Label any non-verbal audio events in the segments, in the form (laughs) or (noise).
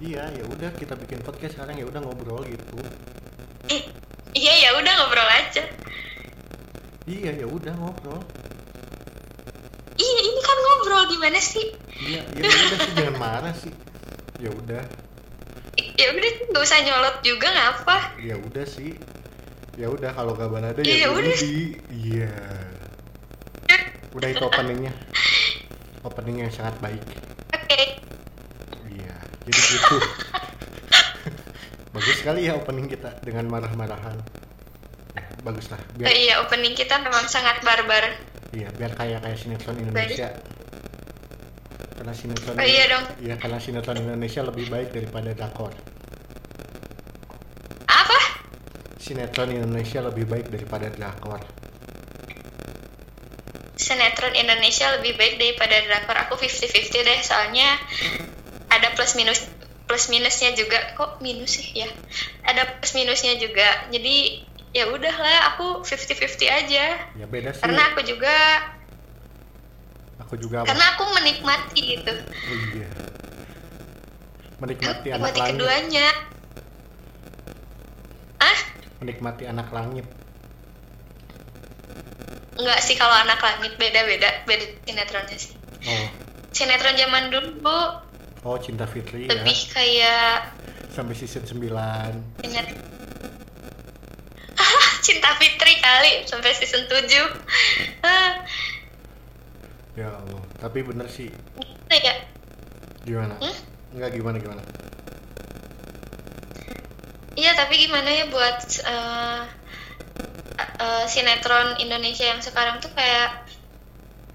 iya ya udah kita bikin podcast sekarang ya udah ngobrol gitu iya ya udah ngobrol aja iya ya udah ngobrol iya ini kan ngobrol gimana sih iya ya udah sih jangan marah sih ya udah ya udah nggak usah nyolot juga ngapa ya udah sih ya udah kalau gak ada ya Iya, udah. di iya udah itu openingnya opening yang sangat baik oke iya jadi (laughs) gitu bagus sekali ya opening kita dengan marah-marahan bagus lah Oh biar iya opening kita memang sangat barbar iya biar kayak kayak sinetron Indonesia karena sinetron oh iya dong iya karena sinetron Indonesia lebih baik daripada drakor apa sinetron Indonesia lebih baik daripada drakor sinetron Indonesia lebih baik daripada drakor aku 50-50 deh soalnya ada plus minus plus minusnya juga kok minus sih ya ada plus minusnya juga jadi ya udahlah aku 50-50 aja ya beda sih karena aku juga aku juga karena aku menikmati gitu Oh iya. Menikmati anak menikmati langit. keduanya ah Menikmati anak langit. nggak sih kalau anak langit beda beda beda sinetronnya sih Oh, sinetron zaman dulu oh Cinta Fitri ya. lebih kayak Sampai season 9. Ingat. (laughs) Cinta Fitri kali sampai season 7. (laughs) Ah, Ya Allah, tapi bener sih. gimana ya? Gimana? Hmm? Enggak gimana gimana. Iya, tapi gimana ya buat eh, eh, sinetron Indonesia yang sekarang tuh kayak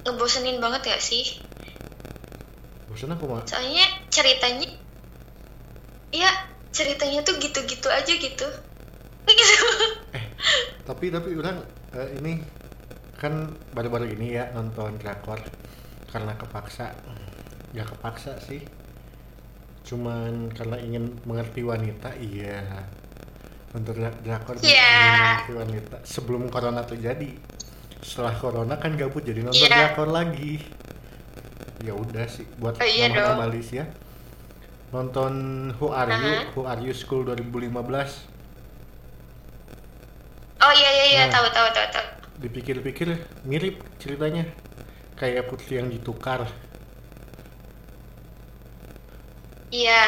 ngebosenin banget gak sih? Bosan aku mah. Soalnya ceritanya Iya, ceritanya tuh gitu-gitu aja gitu. Gitu. Tapi tapi orang eh, ini kan baru-baru ini ya nonton drakor karena kepaksa. Ya kepaksa sih. Cuman karena ingin mengerti wanita, iya. Untuk dra- drakor juga Iya. ingin mengerti wanita sebelum corona terjadi. Setelah corona kan gabut jadi nonton Iya. drakor lagi. Ya udah sih buat Oh, iya mama dong. Malis ya. Nonton Who Are You? Aha. Who Are You School 2015. Oh iya iya iya, Nah. tahu tahu tahu tahu. dipikir-pikir mirip ceritanya kayak putri yang ditukar Iya.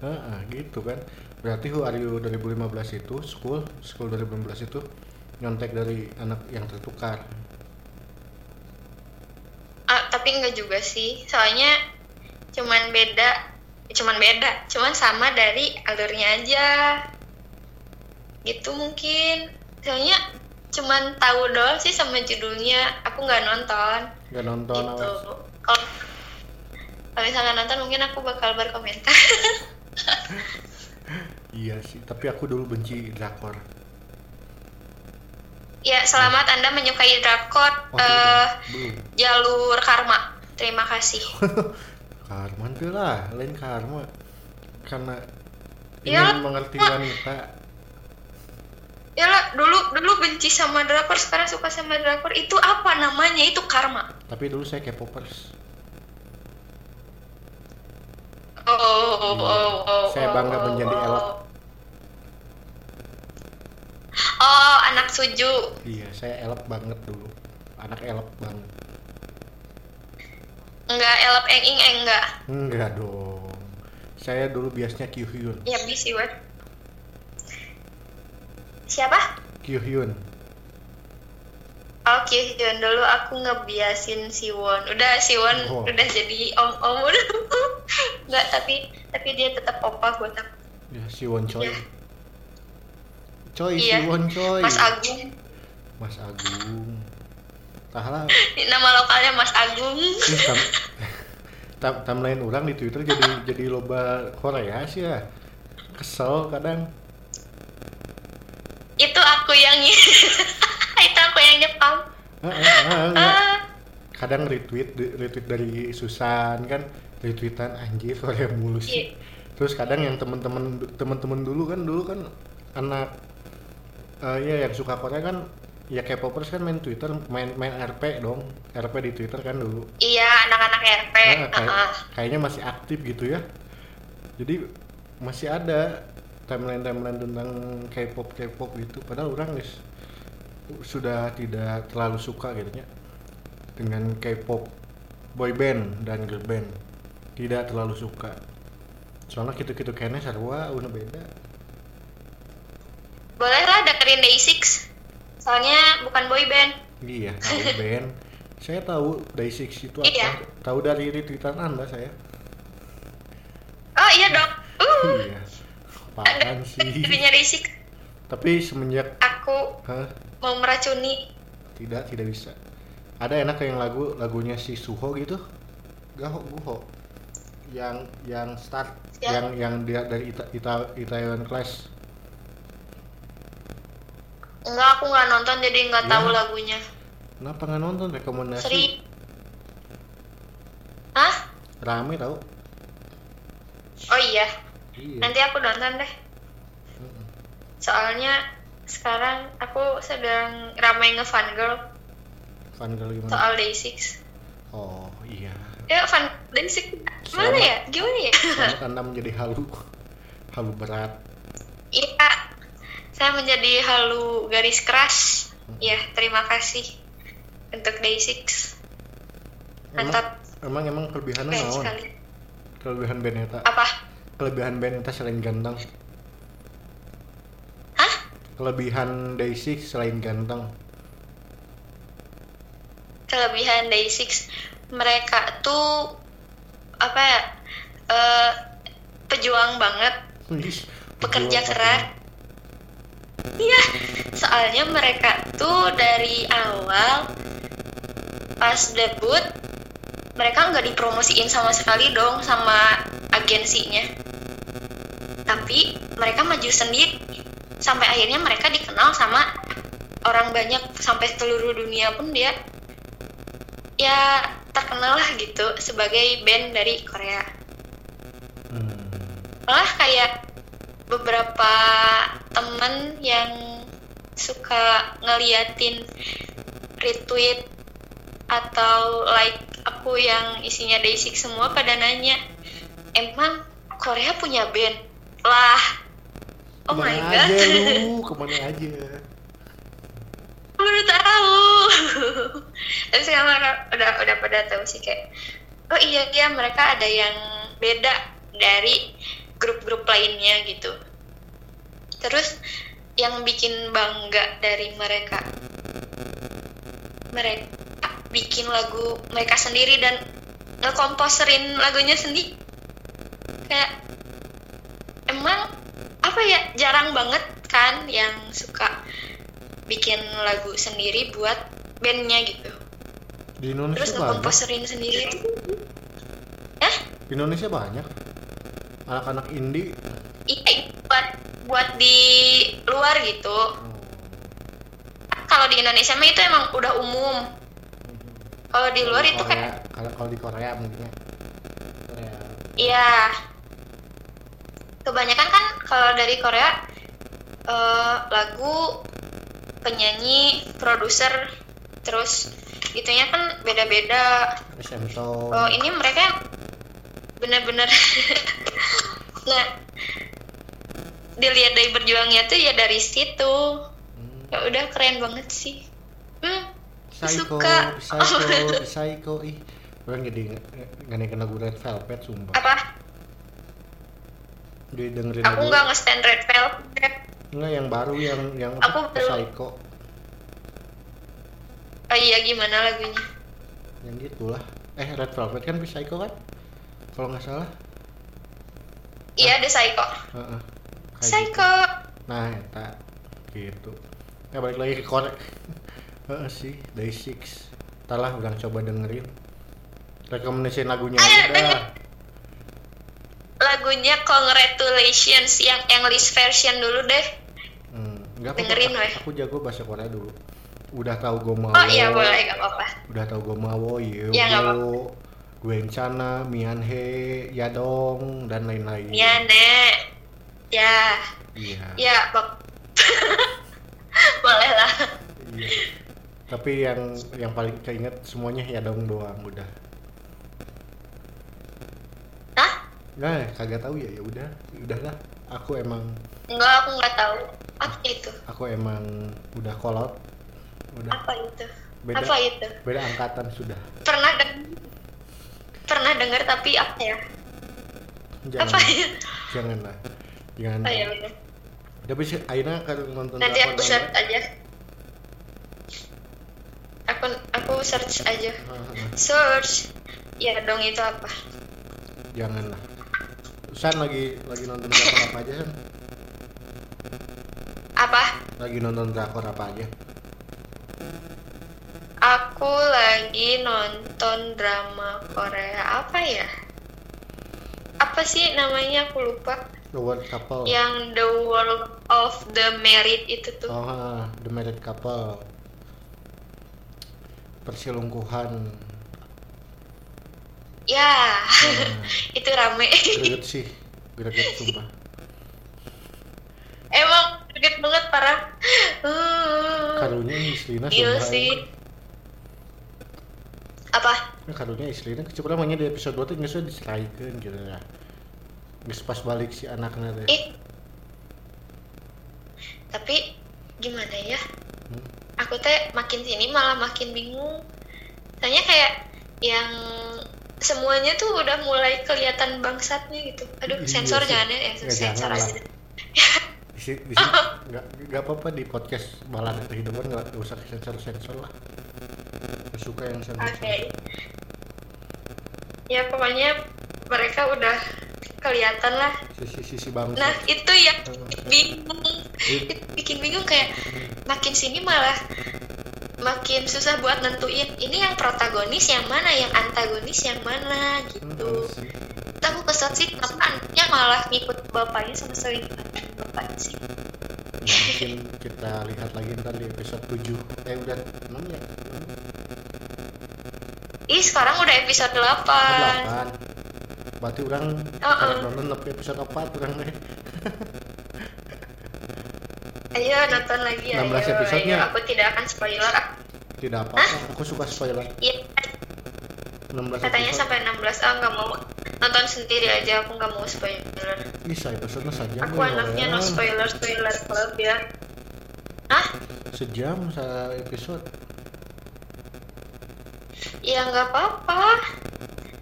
Heeh, gitu kan berarti Who Are You 2015 itu school school 2015 itu nyontek dari anak yang tertukar Ah, tapi enggak juga sih. Soalnya cuman beda, cuman beda, cuman sama dari alurnya aja. Gitu mungkin. Soalnya cuman tahu doang sih sama judulnya. Aku nggak nonton nggak nonton gitu. awas. Kalau kalau misalnya nonton mungkin aku bakal berkomentar. (laughs) iya sih tapi aku dulu benci drakor ya, selamat Hmm. Anda menyukai drakor Oh, eh, belum jalur karma. Terima kasih. karma itu lah lain karma karena Ya, ingin mengerti wanita Ya lah, dulu dulu benci sama drakor, sekarang suka sama drakor. Itu apa namanya? Itu karma. tapi dulu saya K-popers Oh, oh, oh, oh, oh, Saya oh, bangga oh, menjadi oh. elok. Oh, anak suju. iya saya elep banget dulu anak elep banget Enggak, elop eng ing eng enggak. Enggak dong. Saya dulu biasanya Kyuhyun. Ya bisi wet. Siapa? Kyuhyun. Oh, Kyuhyun dulu aku ngebiasin Siwon. Udah Siwon Oh. udah jadi om-om udah. (laughs) Enggak, tapi tapi dia tetap opa gue tak. Ya, Siwon Choi. Choi Iya. Siwon Choi. Mas Agung. Mas Agung. Tahlah, Nama lokalnya Mas Agung. ih, tam, (laughs) tam- timeline orang di Twitter jadi jadi loba Korea sih ya. Kesel kadang. Itu aku yang (laughs) Itu aku yang Jepang. Ah, ah, ah, enggak. Ah. Kadang retweet di- retweet dari Susan kan retweetan anjir (laughs) Korea mulu sih. Iya. terus kadang yang temen-temen temen-temen dulu kan dulu kan anak eh, ya yang suka Korea kan ya K-popers kan main Twitter main main RP dong RP di Twitter kan dulu Iya, anak-anak RP. Nah, kayak- Heeh. kayaknya masih aktif gitu ya jadi masih ada timeline timeline tentang K-pop K-pop gitu padahal orang guys sudah tidak terlalu suka gitu ya dengan K-pop boy band dan girl band tidak terlalu suka soalnya gitu-gitu kayaknya sarwa udah beda bolehlah dengerin Day6 soalnya bukan boy band iya tahu band saya tahu Day6 itu apa Iya. tahu dari retweetan anda saya oh iya dong uh iya apaan sih dirinya Day6 tapi semenjak aku Hah? mau meracuni tidak tidak bisa ada enak yang lagu lagunya si Suho gitu Gaho Guho yang yang start Ya. yang yang dia dari Ita, Ita, Itaewon Class enggak aku nggak nonton jadi nggak Iya. Nah, tahu lagunya kenapa nggak nonton rekomendasi Seri Hah? rame tau Oh iya, iya nanti aku nonton deh. Mm-mm. Soalnya sekarang aku sedang ramai nge-fan girl Fan girl gimana soal Day6. oh iya Ya fan Day6 Selamat. gimana ya? Gimana ya? Selamat anda menjadi halu halu berat Iya, saya menjadi halu garis keras. Ya, terima kasih untuk Day6. emang Mantap, emang emang kelebihannya keren naon sekali. kelebihan band eta Apa? kelebihan band eta selain ganteng Hah? kelebihan Day6 selain ganteng Kelebihan Day6 mereka tuh apa ya? eh, pejuang banget Ih, Pekerja gua- keras. Iya, soalnya mereka tuh dari awal pas debut mereka nggak dipromosiin sama sekali dong sama agensinya. Tapi mereka maju sendiri sampai akhirnya mereka dikenal sama orang banyak sampai seluruh dunia pun dia ya terkenal lah gitu sebagai band dari Korea Hmm. malah kayak beberapa temen yang suka ngeliatin retweet atau like aku yang isinya Day6 semua pada nanya emang Korea punya band lah oh kemana my god (laughs) aja lu kemana aja baru tahu (laughs) tapi sekarang orang- udah udah pada tahu sih kayak oh iya iya mereka ada yang beda dari grup-grup lainnya gitu terus yang bikin bangga dari mereka mereka bikin lagu mereka sendiri dan ngekomposerin lagunya sendiri kayak emang apa ya jarang banget kan yang suka bikin lagu sendiri buat bandnya gitu di Indonesia terus banyak ngekomposerin sendiri Hah? di Indonesia banyak anak-anak indie iya buat buat di luar gitu kalau di Indonesia mah itu emang udah umum kalau di luar itu Korea, kayak kalau kalau di Korea mungkin ya. Korea iya kebanyakan kan kalau dari Korea eh, lagu penyanyi produser terus gitunya kan beda-beda terus Emson Oh, ini mereka benar-benar (laughs) nah dilihat dari berjuangnya tuh ya dari situ Hmm. ya udah keren banget sih hmm Psycho suka. Psycho Psycho ih orang jadi nggak kena lagu Red Velvet sumpah apa dia dengerin aku lagu nggak nge-stand red velvet nggak yang baru yang yang Aku apa baru- Psycho oh iya gimana lagunya yang gitulah eh Red Velvet kan Psycho kan kalau nggak salah iya ada psycho Heeh. Kayak gitu. psycho Nah, eta gitu. Ya balik lagi ke korek. (laughs) Heeh sih, Day 6. Entar lah udah coba dengerin. Rekomendasi lagunya Ayo, aja dah. denger. lagunya congratulations yang English version dulu deh Hmm, enggak apa-apa. Dengerin, weh. Aku jago bahasa Korea dulu. Udah tahu Gomawo. oh iya boleh gak apa-apa Udah tahu Gomawo, Yeo. Ya, nggak Gwencana, Mianhe, Yadong Ya dan lain-lain. ya nek ya Iya. ya bak- (laughs) boleh lah Iya. Tapi yang yang paling ya keinget semuanya Yadong doang udah. Hah? nah kagak tahu ya ya udah udahlah aku emang Enggak, aku nggak tahu. Apa itu? aku emang udah kolot udah Apa itu? Nah, Beda. Apa itu? beda angkatan sudah Pernah deng- pernah dengar tapi apa ya? Apa jangan ya? jangan lah jangan Oh, ya udah. tapi si Aina kalau nonton Nanti drakor aku doang- search aja. Aku aku search aja. Ah, ah, ah. Search. Ya dong itu apa? jangan lah San lagi lagi nonton drakor apa aja San Apa? lagi nonton drakor apa aja Aku lagi nonton drama Korea apa ya? Apa sih namanya aku lupa. The World Couple Yang The World of the Married itu tuh. oh ah, The Married Couple perselingkuhan Ya, (laughs) Nah, itu rame. (laughs) greget sih greget sumpah Emang kaget banget parah. Uh, karunya istrinya Gila sumpah sih. Uh, Apa? Nah, karunya istrinya kecil namanya di episode 2 tuh nggak sudah diseraikan gitu ya Geus pas balik si anaknya deh Ih. Tapi gimana ya? Hmm. Aku teh makin sini malah makin bingung. Soalnya kayak yang semuanya tuh udah mulai kelihatan bangsatnya gitu. Aduh, Iya sensor sih. jangan ya, ya, Ya, sensor jangan lah. aja. di si- di (laughs) si- nggak nggak apa-apa di podcast balada kehidupan nggak nggak usah sensor sensor lah Nggak suka yang sensor Oke. Ya pokoknya mereka udah kelihatan lah. sisi sisi bangsa Nah itu yang bingung, Itu bikin bingung kayak makin sini malah makin susah buat nentuin ini yang protagonis yang mana, yang antagonis yang mana gitu. Terus Aku kesel sih kenapa anaknya malah ngikut bapaknya sama sering bapaknya sih. mungkin kita lihat lagi ntar di episode 7 eh udah 6 ya Ih sekarang udah episode 8 delapan berarti orang Oh, oh. kalau nonton lebih episode 4 orang deh Ayo nonton 16 lagi ayo, episode-nya. ayo. Aku tidak akan spoiler. tidak apa-apa aku suka spoiler Iya 16 katanya episode sampai 16 ah nggak mau nonton sendiri aja aku nggak mau spoiler ih saya episode saja aku anaknya no spoiler spoiler club ya ah sejam saya episode ya nggak apa-apa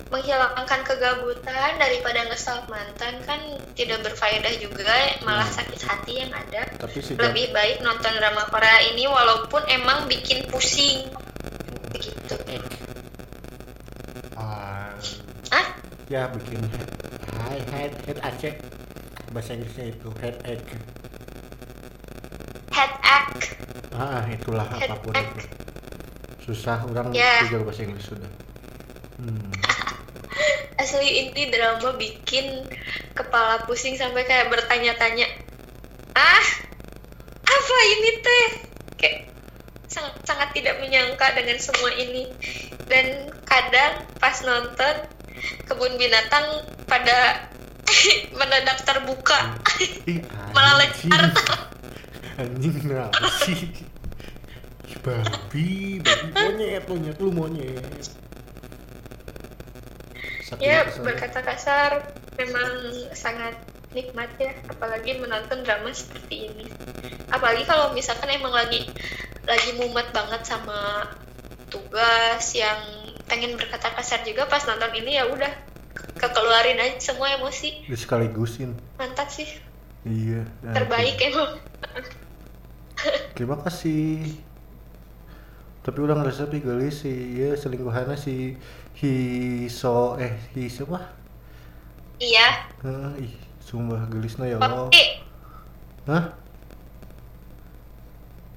menghilangkan kegabutan daripada ngestalk mantan kan tidak berfaedah juga malah sakit hati yang ada tapi sejam lebih baik nonton drama Korea ini walaupun emang bikin pusing gitu Ah, ah ya bikin head hai head head aceh bahasa Inggrisnya itu headache headache ah itulah apapun itu Headache. susah orang Ya. belajar bahasa Inggris sudah (laughs) hmm. asli ini drama bikin kepala pusing sampai kayak bertanya-tanya ah apa ini teh kayak sangat, sangat tidak menyangka dengan semua ini dan kadang pas nonton kebun binatang pada (laughs) mendadak terbuka Ih, Malah anjing. anjing kenapa sih Ih, babi babi monyet monyet lu monyet Sakit ya kesana. berkata kasar memang sangat nikmat ya apalagi menonton drama seperti ini apalagi kalau misalkan emang lagi lagi mumet banget sama tugas yang pengen berkata kasar juga pas nonton ini ya udah ke- kekeluarin aja semua emosi Dia sekaligusin mantap sih iya nah, terbaik emang Terima kasih. Tapi ulang resep sih gelis si ya selingkuhannya si Hiso eh hi siapa? iya Eh, Hah, ih, sumpah gelisnya ya Allah. oke Hah?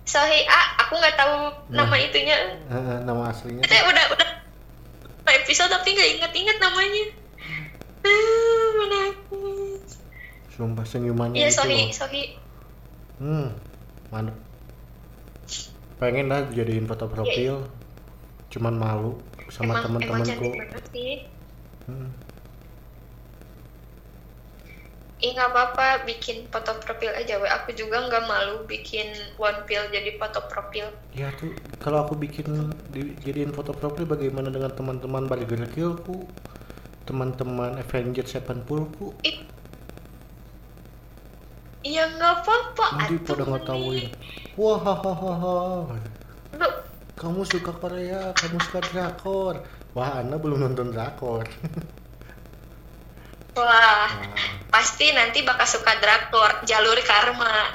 Sohi A aku nggak tahu nama itunya Eh, eh, nama aslinya Teh, udah udah episode tapi nggak inget-inget namanya Ah, menangis sumpah senyumannya Iya, itu Sohi, Gitu loh. Sohi. Hmm. Mantap. Pengen lah jadiin foto profil. Cuman malu sama Iya. emang, emang cantik teman-temanku. banget sih. Hmm. Ih, nggak apa-apa, bikin foto profil aja. We. Aku juga nggak malu bikin one pill jadi foto profil. Ya tuh kalau aku bikin di- jadiin foto profil bagaimana dengan teman-teman balik kecilku? teman-teman Avengers 70 ku Ih. Ya nggak apa-apa. nanti atuh, pada ya. ngetahuin Meni. wah hahaha Lu, kamu suka Korea kamu suka drakor wah Anda belum nonton drakor Nah. Wah, Wah, pasti nanti bakal suka drakor jalur karma.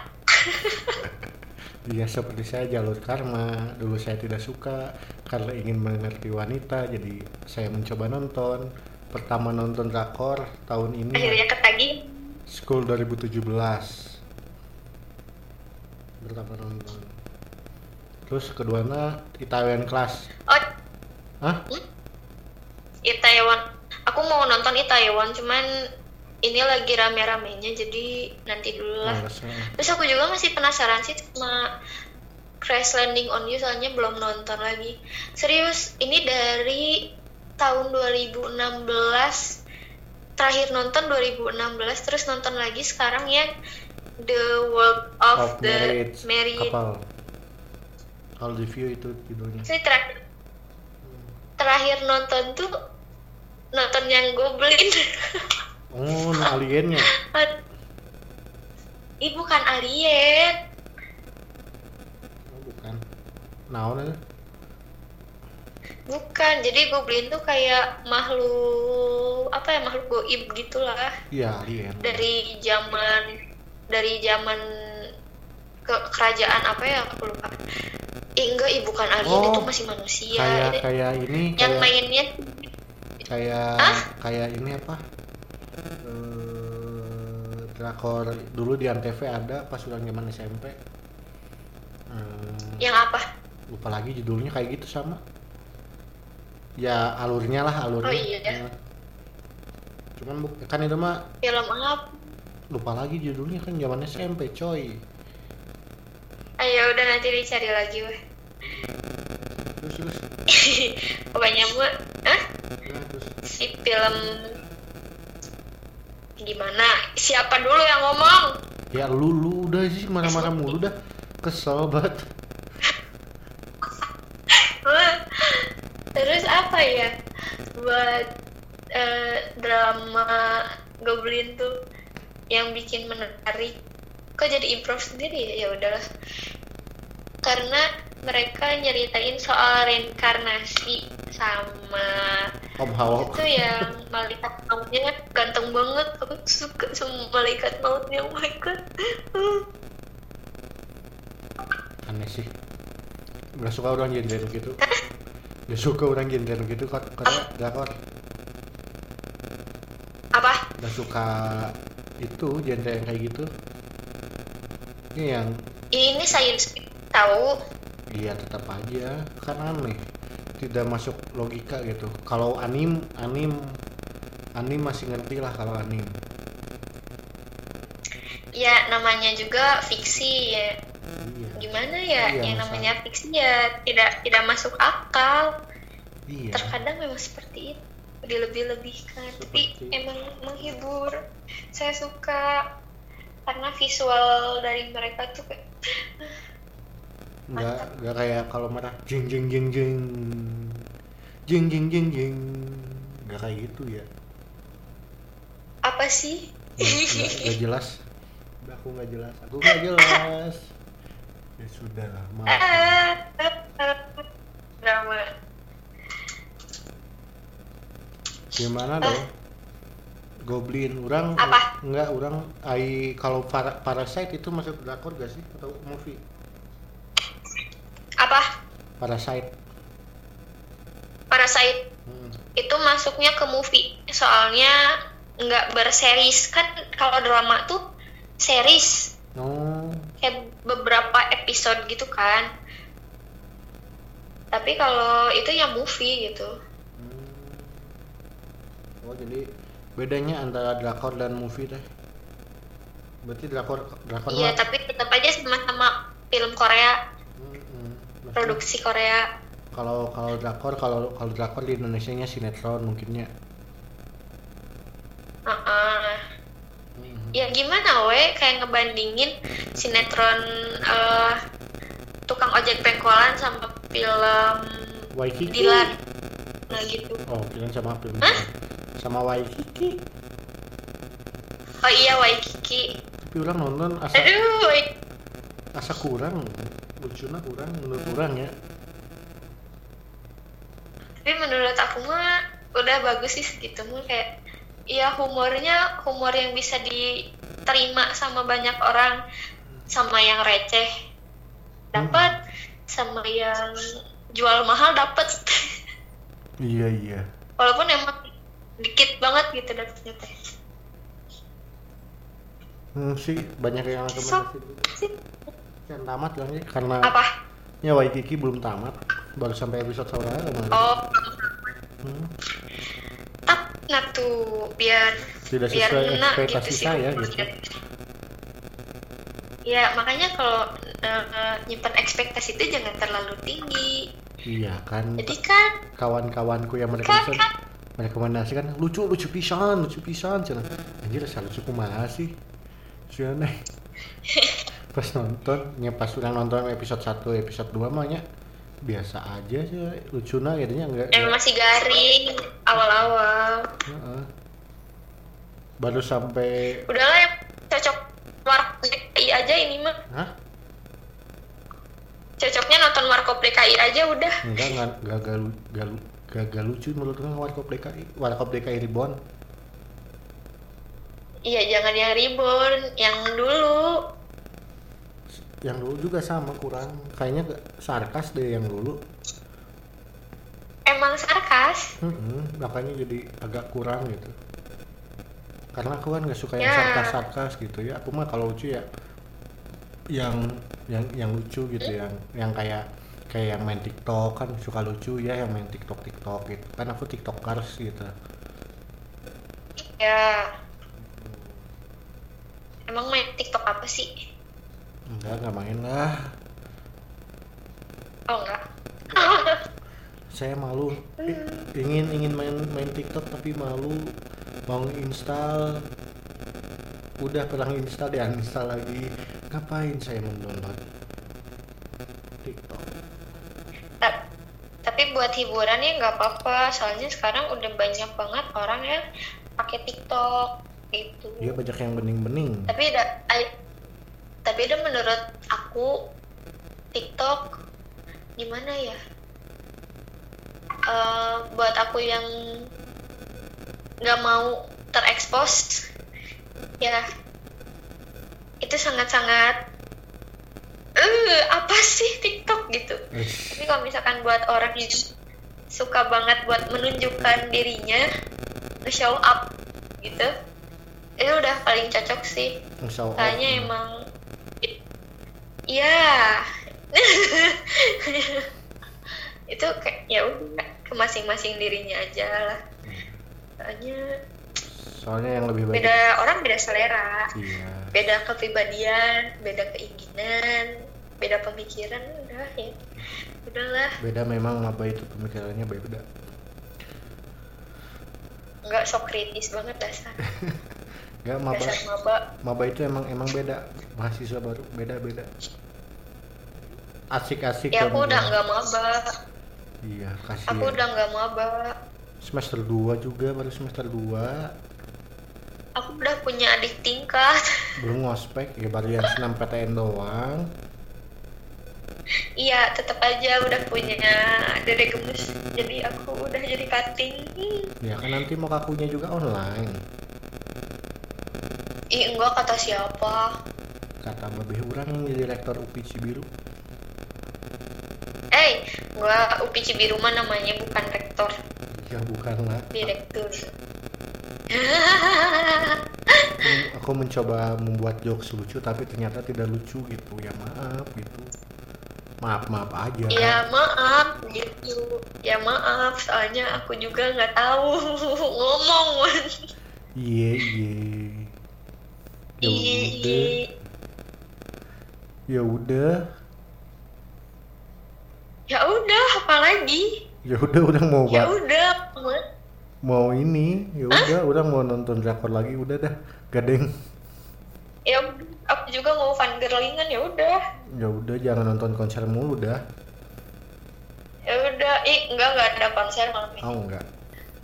Iya seperti saya jalur karma dulu saya tidak suka karena ingin mengerti wanita jadi saya mencoba nonton pertama nonton drakor tahun ini Akhirnya ketagih. School 2017 pertama nonton terus keduanya Italian Class Oh, Hah? Itaewon. Aku mau nonton Itaewon, cuman ini lagi rame-ramenya, jadi nanti dulu lah. Males, eh. Terus aku juga masih penasaran sih sama Crash Landing on You, soalnya belum nonton lagi. Serius, ini dari tahun 2016, terakhir nonton 2016, terus nonton lagi sekarang yang The World of, Of the Marriage Married. Couple All Review itu judulnya Saya terakhir, terakhir nonton tuh nonton yang Goblin. (laughs) Oh, nah aliennya Ih, bukan alien. oh, bukan Naon itu Bukan, jadi goblin tuh kayak makhluk apa ya makhluk goib gitulah Iya alien dari zaman dari zaman ke kerajaan apa ya aku lupa. Ih, enggak, ih bukan alien Oh, itu masih manusia. kayak gitu ya. kayak Ini- ini yang kayak mainnya kayak Hah? kayak ini apa Eh, drakor dulu di antv ada pas udah zaman smp Hmm, yang apa? lupa lagi judulnya kayak gitu sama ya alurnya lah alurnya Oh, iya. Eh. cuman bu- kan itu mah Film apa? lupa lagi judulnya kan zaman SMP coy Ayo Ah, ya udah nanti dicari lagi weh. terus terus Pokoknya gua, ah ya, terus si film gimana? Siapa dulu yang ngomong? ya lu lu udah sih marah-marah mulu dah kesel banget Wah. (laughs) Terus apa ya buat eh, drama Goblin tuh yang bikin menarik? Kok jadi improv sendiri ya? Ya udahlah. Karena mereka nyeritain soal reinkarnasi sama om hawa itu yang malaikat mautnya ganteng banget aku suka sama malaikat mautnya oh my god aneh sih nggak suka orang genre gitu nggak suka orang genre gitu kok karena drakor apa nggak suka itu genre yang kayak gitu ini yang ini science fiction tahu dia tetap aja kan aneh tidak masuk logika gitu kalau anim anim anim masih ngerti lah kalau anim ya namanya juga fiksi ya iya gimana ya Iya, yang masa- namanya fiksi ya tidak tidak masuk akal iya terkadang memang seperti itu dilebih-lebihkan tapi Seperti- emang menghibur saya suka karena visual dari mereka tuh kayak nggak nggak kayak kalau marah jing jing jing jing jing jing jing jing nggak kayak gitu ya apa sih nggak nggak jelas Udah, aku nggak jelas aku nggak jelas ya sudah lah maaf Ah, drama gimana dong goblin orang Apa? nggak orang ai kalau para parasite itu masuk drakor gak sih atau movie apa parasite Parasite hmm. itu masuknya ke movie soalnya nggak berseries kan kalau drama tuh series no kayak beberapa episode gitu kan tapi kalau itu ya movie gitu Hmm. oh jadi bedanya antara drakor dan movie deh berarti drakor drakor iya mah- tapi tetap aja sama-sama film Korea Hmm, hmm. Maksudnya produksi Korea kalau kalau drakor kalau kalau drakor di Indonesia nya sinetron mungkinnya Heeh. Hmm. ya gimana we kayak ngebandingin sinetron eh, tukang ojek pengkolan sama film Waikiki. Dilan nah gitu Oh, Dilan sama film. sama Waikiki oh iya Waikiki tapi orang nonton asa aduh Wai- eh. asa kurang lucunya kurang menurut Hmm. orang ya tapi menurut aku mah udah bagus sih segitu mah kayak ya humornya humor yang bisa diterima sama banyak orang sama yang receh dapat sama yang jual mahal dapat (laughs) iya iya walaupun emang dikit banget gitu dapetnya teh hmm, sih banyak yang rekomendasi yang tamat kan ya karena apa ya Waikiki belum tamat baru sampai episode saudara kemarin oh Hmm, tap nah tuh biar tidak biar sesuai ngena ekspektasi gitu sih saya gitu humornya. ya makanya kalau eh, nyimpan ekspektasi itu jangan terlalu tinggi iya kan jadi kan kawan-kawanku yang kan merekomendasikan kan merekomendasikan lucu lucu pisan lucu pisan cenah anjir saya lucu kumaha sih (laughs) cenah pas nonton nya pas udah nonton episode 1 episode 2 mah nya biasa aja sih lucuna jadinya enggak emang masih garing awal-awal Heeh. baru sampai udahlah yang cocok Markop DKI aja ini mah hah cocoknya nonton Markop DKI aja udah enggak enggak gagal gagal gagal lucu menurut orang warkop DKI warkop DKI Reborn iya jangan yang reborn yang dulu yang dulu juga sama kurang kayaknya ke- sarkas deh yang dulu emang sarkas Mm-mm, Hmm, makanya jadi agak kurang gitu karena aku kan nggak suka yang Ya. sarkas-sarkas gitu ya aku mah kalau lucu ya yang yang yang lucu gitu yang yang kayak kayak yang main TikTok kan suka lucu ya yang main TikTok TikTok gitu kan aku TikTokers gitu ya emang main TikTok apa sih enggak nggak main lah oh enggak saya malu I- ingin ingin main main TikTok tapi malu mau install udah pernah install di uninstall lagi ngapain saya mendownload TikTok Ta- tapi buat hiburan ya nggak apa-apa soalnya sekarang udah banyak banget orang yang pakai TikTok gitu dia Ya, banyak yang bening-bening tapi ada I- tapi ada menurut aku TikTok gimana ya Eh, buat aku yang nggak mau terekspos ya itu sangat-sangat eh apa sih TikTok gitu Eish, tapi kalau misalkan buat orang yang suka banget buat menunjukkan dirinya nge show up gitu itu udah paling cocok sih show off. kayaknya emang iya (laughs) itu kayak ya udah ke masing-masing dirinya aja lah soalnya soalnya yang lebih baik beda orang beda selera iya beda kepribadian beda keinginan beda pemikiran udah ya udahlah beda memang maba itu pemikirannya beda nggak sok kritis banget dasar nggak maba dasar maba maba itu emang emang beda mahasiswa baru beda beda asik-asik ya aku kamu udah bilang. nggak maba iya kasih aku udah nggak maba semester 2 juga baru semester 2 aku udah punya adik tingkat belum ngospek ya baru yang senam PTN doang iya tetap aja udah punya dede gemes jadi aku udah jadi cutting Hmm. ya kan nanti mau kakunya juga online ih enggak kata siapa kata babeh orang yang jadi rektor UPI Cibiru eh gua upi cibiru mah namanya bukan rektor ya bukan lah direktur (laughs) aku, aku mencoba membuat jokes lucu tapi ternyata tidak lucu gitu ya maaf gitu maaf maaf aja ya maaf gitu ya maaf soalnya aku juga nggak tahu (laughs) ngomong iye iye Iya, ya udah ya iya iya udah ya udah apalagi ya udah orang mau ya ba- udah Mama. mau ini ya udah orang mau nonton drakor lagi udah dah gadeng ya aku juga mau fan girlingan ya udah ya udah jangan nonton konser mulu dah ya udah ih enggak enggak ada konser malam ini oh enggak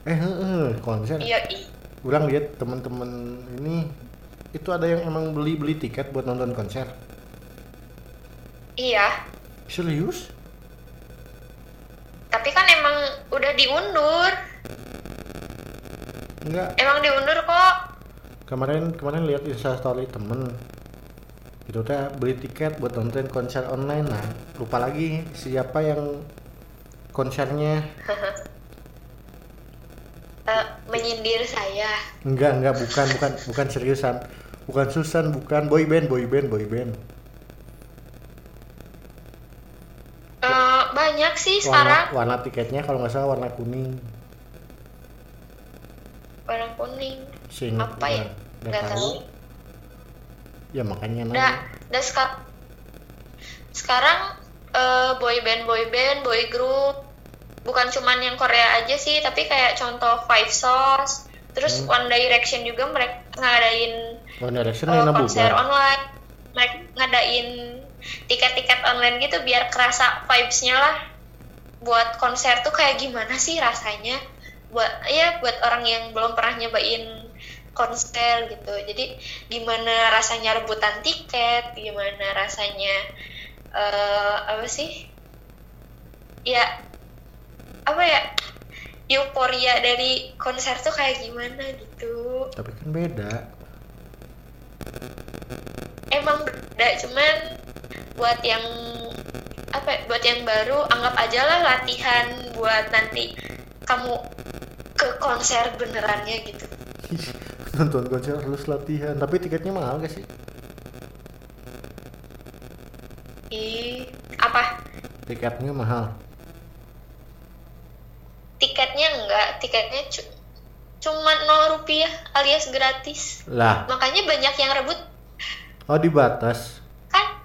eh heeh, konser iya i orang lihat teman-teman ini itu ada yang emang beli beli tiket buat nonton konser iya serius tapi kan emang udah diundur enggak emang diundur kok (laughs) kemarin kemarin lihat instastory temen itu teh beli tiket buat nonton konser online nah lupa lagi siapa yang konsernya Eh, menyindir saya enggak enggak bukan bukan bukan seriusan bukan Susan bukan boyband boyband boyband Eh, banyak sih warna sekarang warna tiketnya kalau nggak salah warna kuning warna kuning seingat Apa ya? nggak nggak tahu tahu ya makanya nanya. Udah, udah seka- sekarang eh, boy band, boy band, boy group bukan cuman yang Korea aja sih, tapi kayak contoh Five Source, terus Hmm. One Direction juga mereka ngadain One Direction eh, Lena konser bubar online, mereka ngadain tiket-tiket online gitu biar kerasa vibes-nya lah. Buat konser tuh kayak gimana sih rasanya? Buat ya buat orang yang belum pernah nyobain konser gitu. Jadi gimana rasanya rebutan tiket, gimana rasanya eh apa sih? Ya apa ya? Euforia dari konser tuh kayak gimana gitu. tapi kan beda (laughs) emang beda cuman buat yang apa ya, buat yang baru anggap aja lah latihan buat nanti kamu ke konser benerannya gitu nonton konser harus latihan tapi tiketnya mahal gak sih ih apa tiketnya mahal tiketnya enggak tiketnya cu- cuma nol rupiah alias gratis lah makanya banyak yang rebut oh di batas kan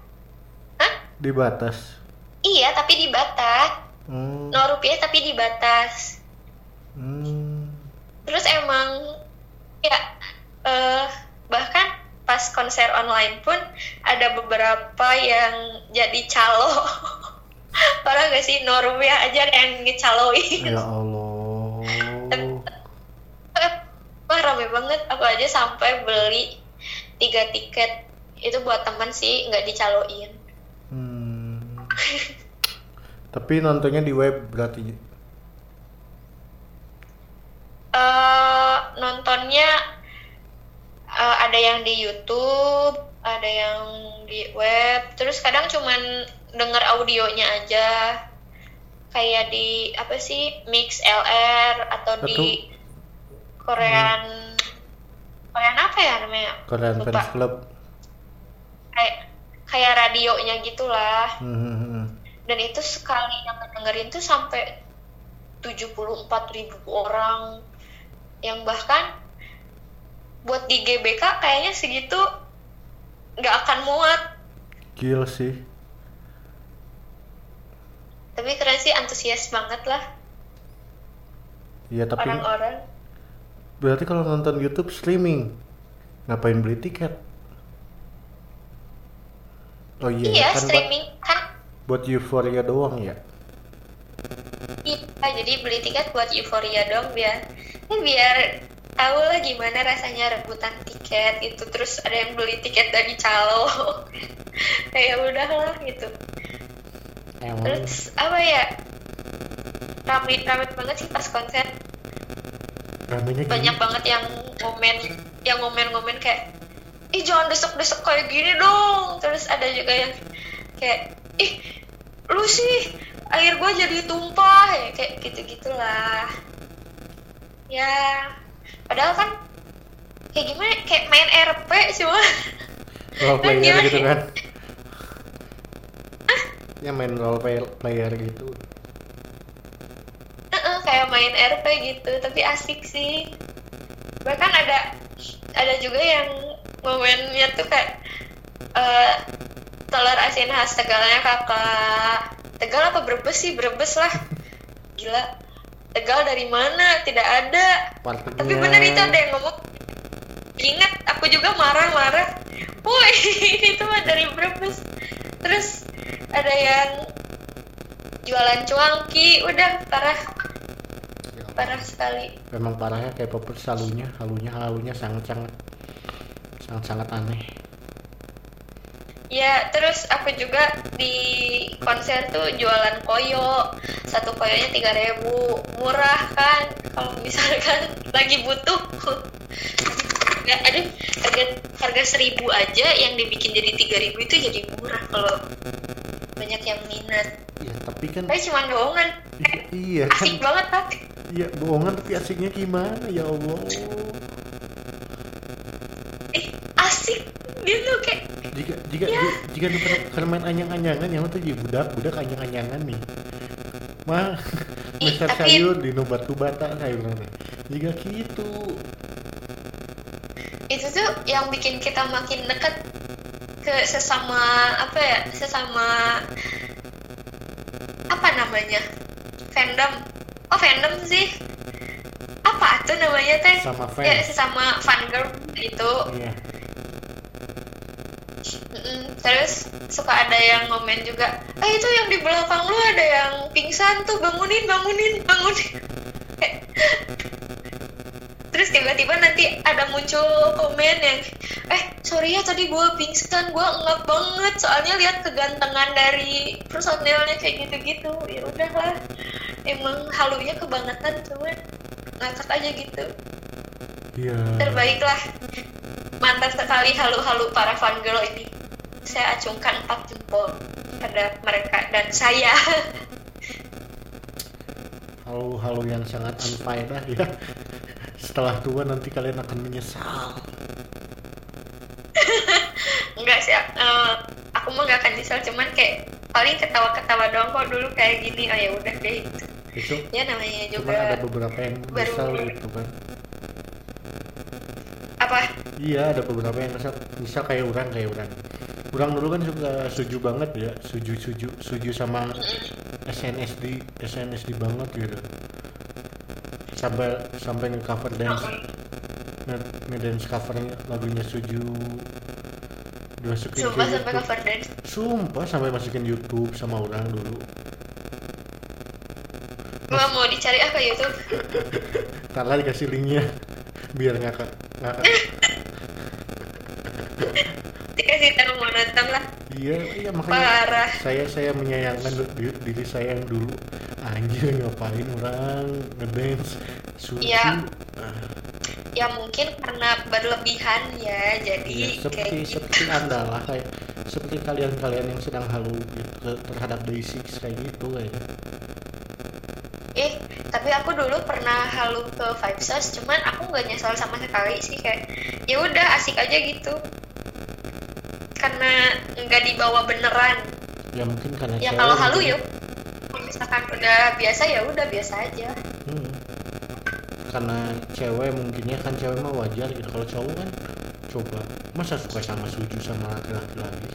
Hah? di batas iya tapi di batas hmm. nol rupiah tapi di batas hmm. terus emang ya eh bahkan pas konser online pun ada beberapa yang jadi calo (laughs) parah gak sih Norwegia aja ada yang ngecaloin (laughs) ya Allah wah rame banget aku aja sampai beli tiga tiket itu buat teman sih nggak dicaloin (laughs) hmm. tapi nontonnya di web berarti eh nontonnya eh, ada yang di YouTube, ada yang di web, terus kadang cuman denger audionya aja. Kayak di apa sih? Mix LR atau di Korean Korean apa ya namanya? Korean Lupa. Fans Club Kayak kayak radionya gitulah. Hmm, hmm, hmm. Dan itu sekali yang dengerin tuh sampai 74.000 orang yang bahkan buat di GBK kayaknya segitu nggak akan muat Gila sih tapi keren sih antusias banget lah Iya tapi orang-orang berarti kalau nonton YouTube streaming ngapain beli tiket? Oh iya, iya kan streaming kan buat buat euforia doang ya. iya jadi beli tiket buat euforia dong biar ya biar tahu lah gimana rasanya rebutan tiket gitu terus ada yang beli tiket dari calo (laughs) kayak udahlah gitu Emang terus apa ya rame rame banget sih pas konser ramenya gini. banyak banget yang komen yang ngomen-ngomen kayak ih jangan desek-desek kayak gini dong terus ada juga yang kayak ih lu sih air gua jadi tumpah ya kayak gitu gitulah ya padahal kan kayak gimana ya, kayak main RP cuma role player Gimana? gitu (laughs) kan. Ya main role player, player gitu. Heeh, kayak main RP gitu tapi asik sih bahkan ada ada juga yang momennya tuh kayak eh, telur asin khas tegalnya kakak tegal apa brebes sih brebes lah gila tegal dari mana tidak ada Partiknya. tapi bener itu ada yang ngomong ingat aku juga marah-marah woi (laughs) itu mah dari Brebes terus ada yang jualan cuangki udah parah Ya parah sekali Memang parahnya kayak popers halunya, halunya, halunya sangat-sangat sangat-sangat aneh. ya terus aku juga di konser tuh jualan koyo satu koyonya tiga ribu murah kan kalau misalkan (laughs) lagi butuh nggak ada harga harga seribu aja yang dibikin jadi tiga ribu itu jadi murah kalau banyak yang minat Ya tapi kan tapi cuma bohongan i- iya asik kan banget kan iya bohongan tapi asiknya gimana ya Allah. eh asik gitu kayak Jika jika Ya. jika lu pernah- pernah main anyang-anyangan yang tuh jadi budak budak anyang-anyangan nih. Mah Ih, besar tapi- sayur di batu bata sayur nanti. Jika gitu itu tuh yang bikin kita makin dekat ke sesama apa ya sesama apa namanya fandom oh fandom sih apa tuh namanya teh sama fans. ya sesama fangirl gitu Iya. Mm-mm. terus suka ada yang komen juga eh itu yang di belakang lu ada yang pingsan tuh bangunin bangunin bangunin (laughs) terus tiba-tiba nanti ada muncul komen yang eh sorry ya tadi gue pingsan gue ngap banget soalnya lihat kegantengan dari personilnya kayak gitu-gitu ya udahlah emang halunya kebangetan cuman ngakak aja gitu Iya. terbaiklah mantap sekali halu-halu para fangirl ini saya acungkan empat jempol pada mereka dan saya (laughs) Halu-halu yang sangat unfaedah ya. Setelah tua nanti kalian akan menyesal. enggak sih eh, aku mah nggak akan nyesel cuman kayak paling ketawa-ketawa doang kok dulu kayak gini oh ya udah deh gitu. Itu ya namanya cuman ada juga beberapa yang baru- menyesal gitu kan. apa Iya, ada beberapa yang menyesal. Menyesal kayak orang kayak orang. Orang dulu kan suka suju banget ya, suju suju suju sama SNSD SNSD banget gitu. Sampai sampai nge-cover dance nge- nge-dance covernya lagunya suju dimasukin ke sumpah sampai YouTube. cover dance Sumpah sampai masukin YouTube sama orang dulu. gua mau dicari apa ya, YouTube Tala dikasih linknya (laughs) biar ngakak ngakak. dikasih tahu mau nonton lah Iya, iya makanya parah saya saya menyayangkan du- di- diri saya yang dulu anjir ngapain orang ngedance suci Iya. ya mungkin karena berlebihan ya jadi Iya, kayak seperti gitu seperti anda lah kayak seperti kalian-kalian yang sedang halu gitu, ke- terhadap basics kayak gitu kayak Eh, tapi aku dulu pernah halu ke Five Stars, cuman aku nggak nyesal sama sekali sih kayak ya udah asik aja gitu. Karena nggak dibawa beneran. ya mungkin karena Ya saya kalau halu mungkin- yuk, kalau misalkan udah biasa ya udah biasa aja. Hmm. karena cewek mungkinnya kan cewek mah wajar gitu kalau cowok kan coba masa suka sama suju sama laki-laki lagi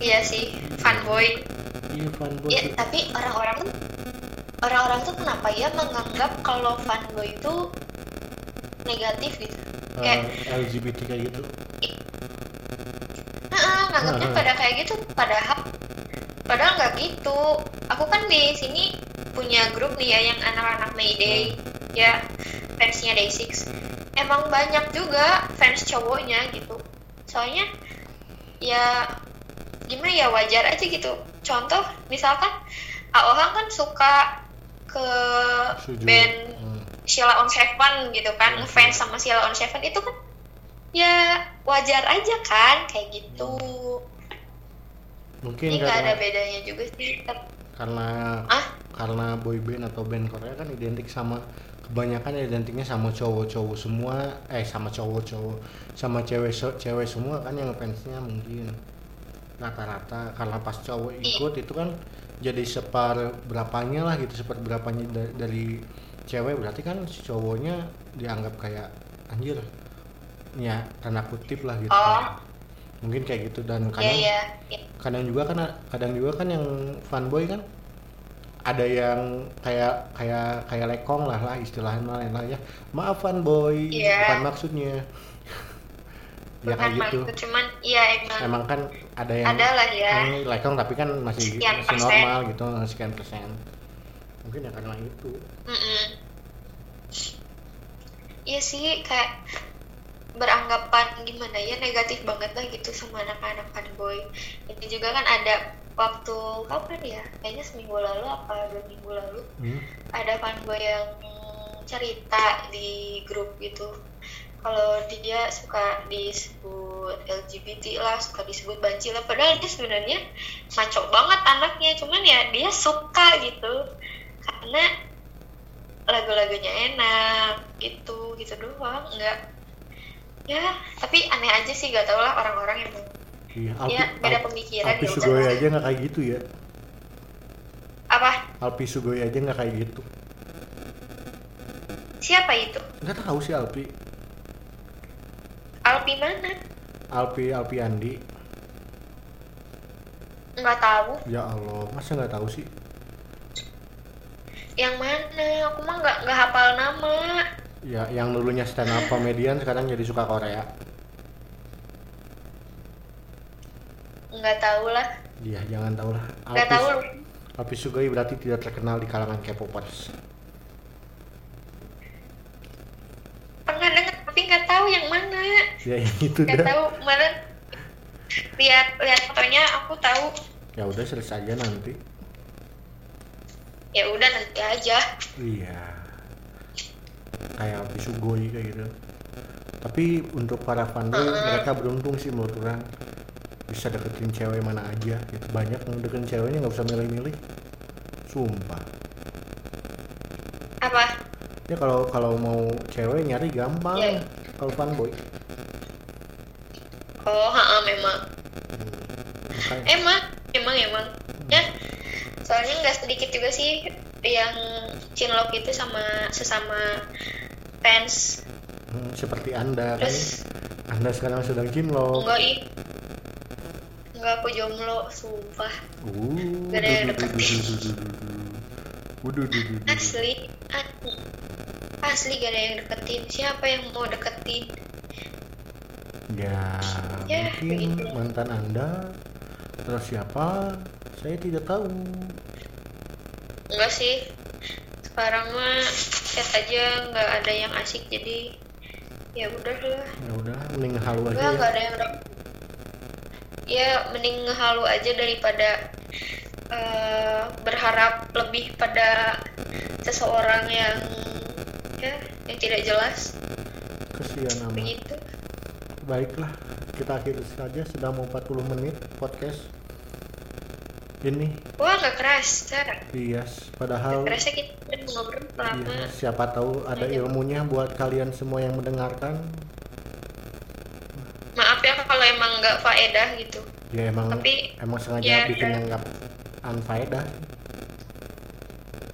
Iya sih, fanboy. iya fanboy Ya, tapi orang-orang tuh- orang-orang tuh kenapa ya menganggap kalau fanboy itu negatif gitu? eh, LGBT kayak gitu Heeh, nganggapnya Heeh. pada kayak gitu padahal padahal nggak gitu aku kan di sini punya grup nih ya yang anak-anak Mayday ya fansnya Day6 emang banyak juga fans cowoknya gitu soalnya ya gimana ya wajar aja gitu contoh misalkan Aohang kan suka ke Suju. band Hmm. Sheila on Seven gitu kan ngefans sama Sheila on Seven itu kan ya wajar aja kan kayak gitu mungkin ini nggak karena ada bedanya juga sih karena Ah? karena boy band atau band Korea kan identik sama kebanyakan identiknya sama cowok-cowok semua eh sama cowok-cowok sama cewek cewek semua kan yang fansnya mungkin rata-rata karena pas cowok Iya. ikut itu kan jadi separ berapanya lah gitu separ berapanya da- dari cewek berarti kan si cowoknya dianggap kayak anjir ya tanda kutip lah gitu Oh. mungkin kayak gitu dan ya kadang ya ya. kadang juga kan kadang juga kan yang fanboy kan ada yang kayak kayak kayak lekong lah lah istilahnya lain lah ya maaf fanboy Iya. bukan maksudnya (laughs) ya bukan kayak gitu maksud, cuman ya emang, emang kan ada yang ada lah ya yang lekong tapi kan masih Sekian masih persen. normal gitu sekian persen mungkin ya karena itu Mm-mm. Iya sih kayak beranggapan gimana ya negatif banget lah gitu sama anak-anak fanboy. Itu juga kan ada waktu kapan ya? Kayaknya seminggu lalu apa dua minggu lalu hmm. ada fanboy yang cerita di grup gitu. Kalau dia suka disebut LGBT lah, suka disebut banci lah. Padahal dia sebenarnya maco banget anaknya, cuman ya dia suka gitu karena lagu-lagunya enak gitu gitu doang nggak ya tapi aneh aja sih gak tau lah orang-orang yang iya ya beda Alpi, pemikiran Alpi ya udah. Sugoi aja nggak kayak gitu ya apa Alpi Sugoi aja nggak kayak gitu siapa itu nggak tahu sih Alpi Alpi mana Alpi Alpi Andi nggak tahu ya Allah masa nggak tahu sih yang mana aku mah nggak nggak hafal nama ya yang dulunya stand up comedian sekarang jadi suka Korea nggak tahu lah Iya, jangan tahu lah. nggak tahu Alpi, Alpi Sugoi berarti tidak terkenal di kalangan K-popers. pernah dengar tapi nggak tahu yang mana Ya (laughs) yang itu nggak dah. tahu mana lihat lihat fotonya aku tahu Ya udah selesai aja nanti. ya udah nanti aja Iya. Kayak Alpi Sugoi kayak gitu. Tapi untuk para fanboy Mm-mm. mereka beruntung sih menurut orang bisa deketin cewek mana aja gitu banyak yang deketin ceweknya nggak usah milih-milih sumpah apa ya kalau kalau mau cewek nyari gampang Iya. kalau fanboy oh ha memang hmm. makanya Emang, emang, emang. Ya, soalnya nggak sedikit juga sih yang cinlok itu sama sesama fans. hmm, seperti anda kan Terus Oh. anda sekarang sedang cinlok enggak ih, enggak aku jomblo, sumpah. Uh, Gak ada yang deket. Waduh, duh, duh, duh. Asli, asli, asli gak ada yang deketin. Siapa yang mau deketin? Ya, Ya, mungkin begitu. mantan Anda terus siapa? Saya tidak tahu. Enggak sih. Sekarang mah chat aja nggak ada yang asik jadi ya udah lah. Ya udah, mending halu aja Enggak, ya. enggak ada yang udah- Ya, mending ngehalu aja daripada eh, berharap lebih pada seseorang yang ya yang tidak jelas Kesian amat. begitu. Baiklah, kita akhiri saja sudah mau 40 menit podcast. Ini, Wah, nggak kerasa. bias. Padahal Kerasa kita udah ngobrol lama. iya, siapa tahu ada Ayo. ilmunya buat kalian semua yang mendengarkan. Maaf ya kalau emang nggak faedah gitu. Ya emang Tapi, emang sengaja ya, bikin ya. yang nggak unfaedah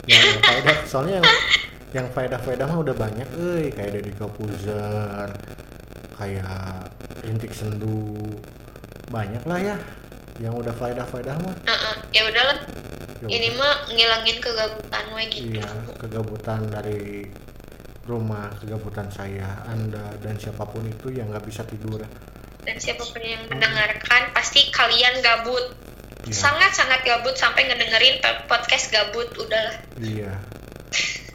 ya nggak (laughs) faedah soalnya yang yang faedah faedah mah udah banyak euy kayak dari Kopuzer kayak rintik sendu banyak lah ya yang udah faedah faedah mah Heeh, ya udahlah. Ya Ini mah ngilangin kegabutan we udah. gitu. iya kegabutan dari rumah kegabutan saya anda dan siapapun itu yang nggak bisa tidur Dan siapapun yang mendengarkan pasti kalian gabut. ya sangat-sangat gabut sampai ngedengerin pe- podcast gabut udahlah iya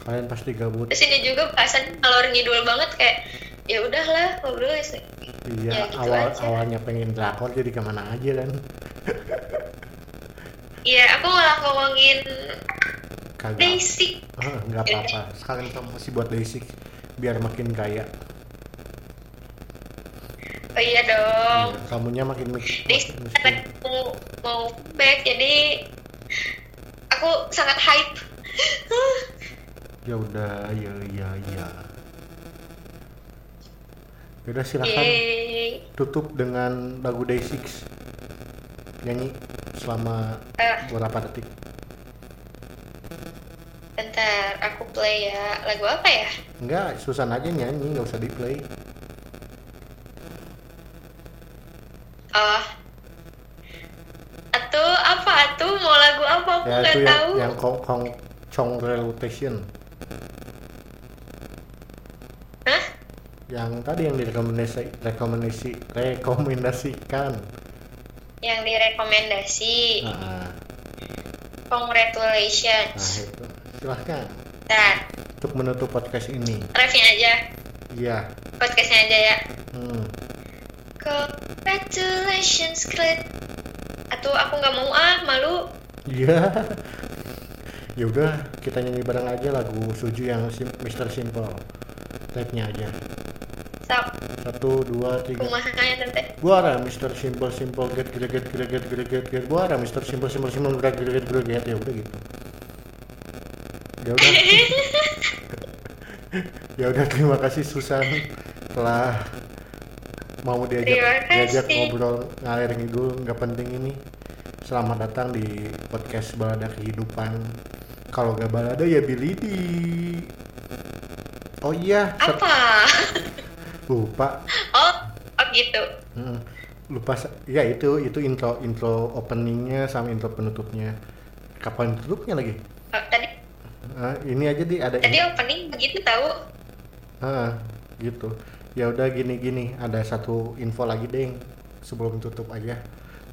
kalian pasti gabut terus ini juga bahasan ngalor ngidul banget kayak ya udahlah ngobrol ya se- iya gitu awal aja. awalnya pengen drakor jadi kemana aja kan ya aku malah ngomongin kagak Daisy Ah, nggak Iya, apa-apa sekalian promosi buat Daisy biar makin kaya oh iya dong Iya, kamunya makin mik- Daisy makin miskin katanya mau mau back jadi aku sangat hype ya udah ya ya ya Yaudah Ya Iya. silakan Yeay. tutup dengan lagu Day 6 nyanyi selama Eh. berapa detik bentar aku play ya lagu apa ya enggak Susan aja nyanyi nggak usah di play oh atau apa atuh mau lagu apa aku ya nggak itu yang tahu yang kong kong chong relutation Hah? yang tadi yang direkomendasi rekomendasi rekomendasikan yang direkomendasi Ah, ah. Congratulations. Nah itu silahkan Nah, untuk menutup podcast ini refnya aja, iya podcastnya aja ya. hmm. Congratulations, Crit. Atau aku nggak mau ah, malu. iya ya udah kita nyanyi bareng aja lagu suju yang Sim- Mr. Simple tapnya aja Sap, satu dua tiga kumaha ya tante. Buara Mr. Simple Simple Get Greget Greget Greget Get Buara Mr. Simple Simple Simple Greget Greget Greget ya udah gitu ya udah ya udah terima kasih Susan telah mau diajak Terima diajak kasih. ngobrol ngalir ngidul nggak penting ini selamat datang di podcast balada kehidupan kalau nggak balada ya bilidi oh iya set- Apa? (laughs) lupa Oh, oh gitu. Mm, lupa sa- ya itu itu intro intro openingnya sama intro penutupnya kapan tutupnya lagi Oh, tadi Ah, ini aja di ada tadi opening begitu tahu. Ah, gitu ya udah gini gini ada satu info lagi deng sebelum tutup aja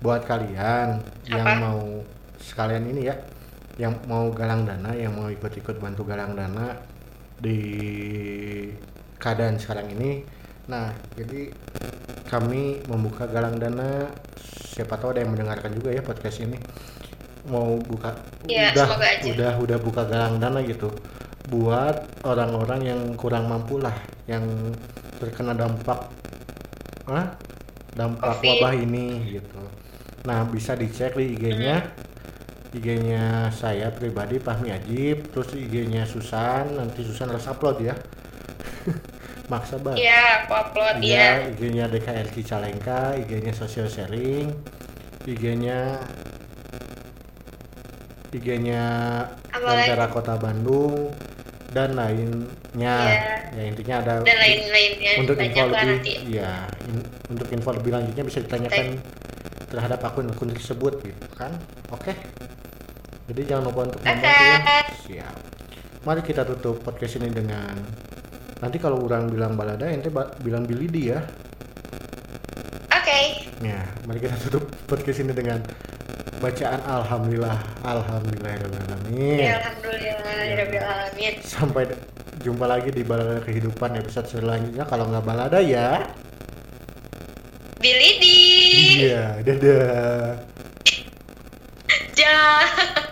buat kalian yang Apa? mau sekalian ini ya yang mau galang dana yang mau ikut-ikut bantu galang dana di keadaan sekarang ini nah jadi kami membuka galang dana siapa tahu ada yang mendengarkan juga ya podcast ini mau buka Ya, udah semoga aja. udah udah buka galang dana gitu buat orang-orang yang kurang mampu lah yang terkena dampak ah dampak Covid. wabah ini gitu nah bisa dicek di IG-nya Hmm. IG-nya saya pribadi Fahmi Ajib terus IG-nya Susan nanti Susan harus upload ya (laughs) maksa banget Iya, aku upload Ah. ya. Iya, IG-nya DKR Cicalengka, IG-nya Social Sharing, IG-nya IG-nya Apa Lentera Kota Bandung dan lainnya. Ya intinya ada Iya. Dan lain-lainnya untuk info Iya, banyak lah lebih nanti. ya in- untuk info lebih lanjutnya bisa ditanyakan terhadap akun-akun tersebut gitu kan. Oke. Jadi jangan lupa untuk Oke. membantu ya. Siap. Mari kita tutup podcast ini dengan nanti kalau orang bilang balada ente ba- bilang bilidi ya. Oke. Ya, mari kita tutup podcast ini dengan bacaan alhamdulillah alhamdulillahirobbilalamin. Ya, Alhamdulillah, Iya. ya. Rabbil Alamin. Sampai d- jumpa lagi di balada kehidupan episode selanjutnya kalau nggak balada ya. Bilidi. Iya. Iya, dadah. Ja.